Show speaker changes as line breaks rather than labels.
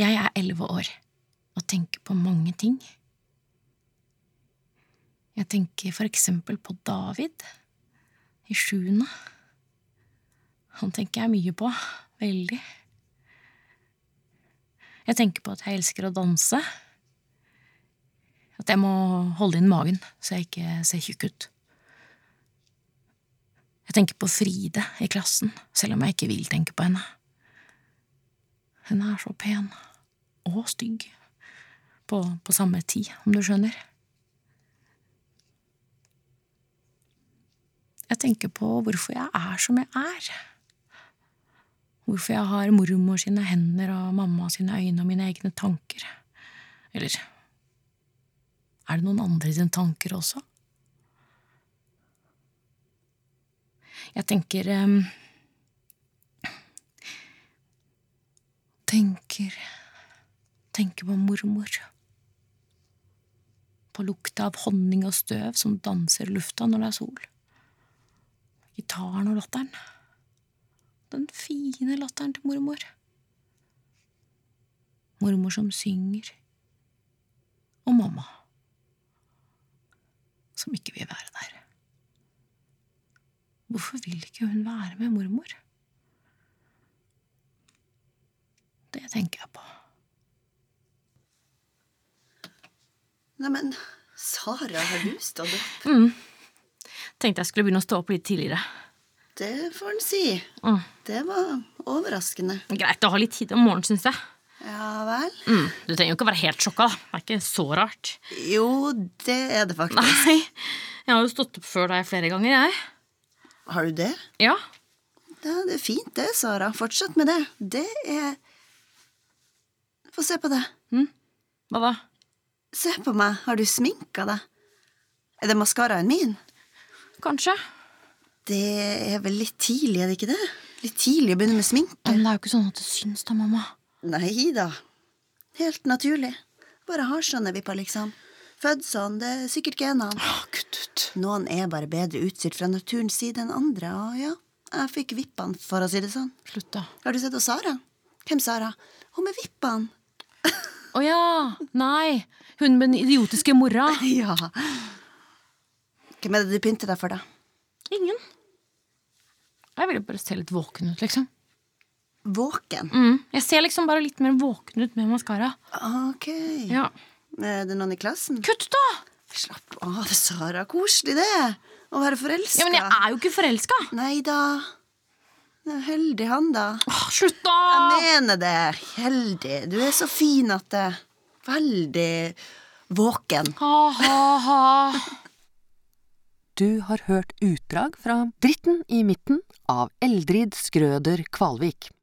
Jeg er elleve år og tenker på mange ting. Jeg tenker for eksempel på David i sjuende. Han tenker jeg mye på. Veldig. Jeg tenker på at jeg elsker å danse. At jeg må holde inn magen så jeg ikke ser tjukk ut. Jeg tenker på Fride i klassen, selv om jeg ikke vil tenke på henne. Hun er så pen. Og stygg. På, på samme tid, om du skjønner. Jeg tenker på hvorfor jeg er som jeg er. Hvorfor jeg har mormor sine hender og mamma sine øyne og mine egne tanker. Eller er det noen andre sine tanker også? Jeg tenker ehm, um, Tenker Tenker på mormor. På lukta av honning og støv som danser i lufta når det er sol. Gitaren og latteren. Den fine latteren til mormor. Mormor som synger. Og mamma. Som ikke vil være der. Hvorfor vil ikke hun være med mormor? Det tenker jeg på.
Neimen, Sara har du stått opp.
Mm. Tenkte jeg skulle begynne å stå opp litt tidligere.
Det får en si.
Mm.
Det var overraskende.
Greit å ha litt tid om morgenen, syns jeg.
Ja vel?
Mm. Du trenger jo ikke å være helt sjokka. da. Det er ikke så rart.
Jo, det er det faktisk.
Nei, Jeg har jo stått opp før deg flere ganger, jeg.
Har du det?
Ja.
Ja, det er fint det, Sara. Fortsett med det. Det er Få se på det.
Hva da?
Se på meg. Har du sminka deg? Er det maskaraen min?
Kanskje.
Det er vel litt tidlig, er det ikke det? Litt tidlig å begynne med sminke.
Men det er jo ikke sånn at det syns, da, mamma.
Nei da. Helt naturlig. Bare har sånne vipper, liksom. Født sånn, det er sikkert genene.
kutt ut.
Noen er bare bedre utstyrt fra naturens side enn andre, og ja, jeg fikk vippene, for å si det sånn.
Slutt, da.
Har du sett hos Sara? Hvem Sara? Hun med vippene.
Å ja. Nei. Hun med den idiotiske mora.
Ja. Hvem er det du pynter deg for, da?
Ingen. Jeg ville bare se litt våken ut, liksom.
Våken.
Mm. Jeg ser liksom bare litt mer våken ut med maskara.
Ok.
Ja.
Er det noen i klassen?
Kutt, da!
Slapp av, Sara. Koselig, det. Å være forelska.
Ja, Men jeg er jo ikke forelska!
Nei da. Heldig han, da.
Åh, Slutt, da!
Jeg mener det. Heldig. Du er så fin at det Veldig våken.
Ha, ha, ha.
Du har hørt utdrag fra Dritten i midten av Eldrid Skrøder Kvalvik.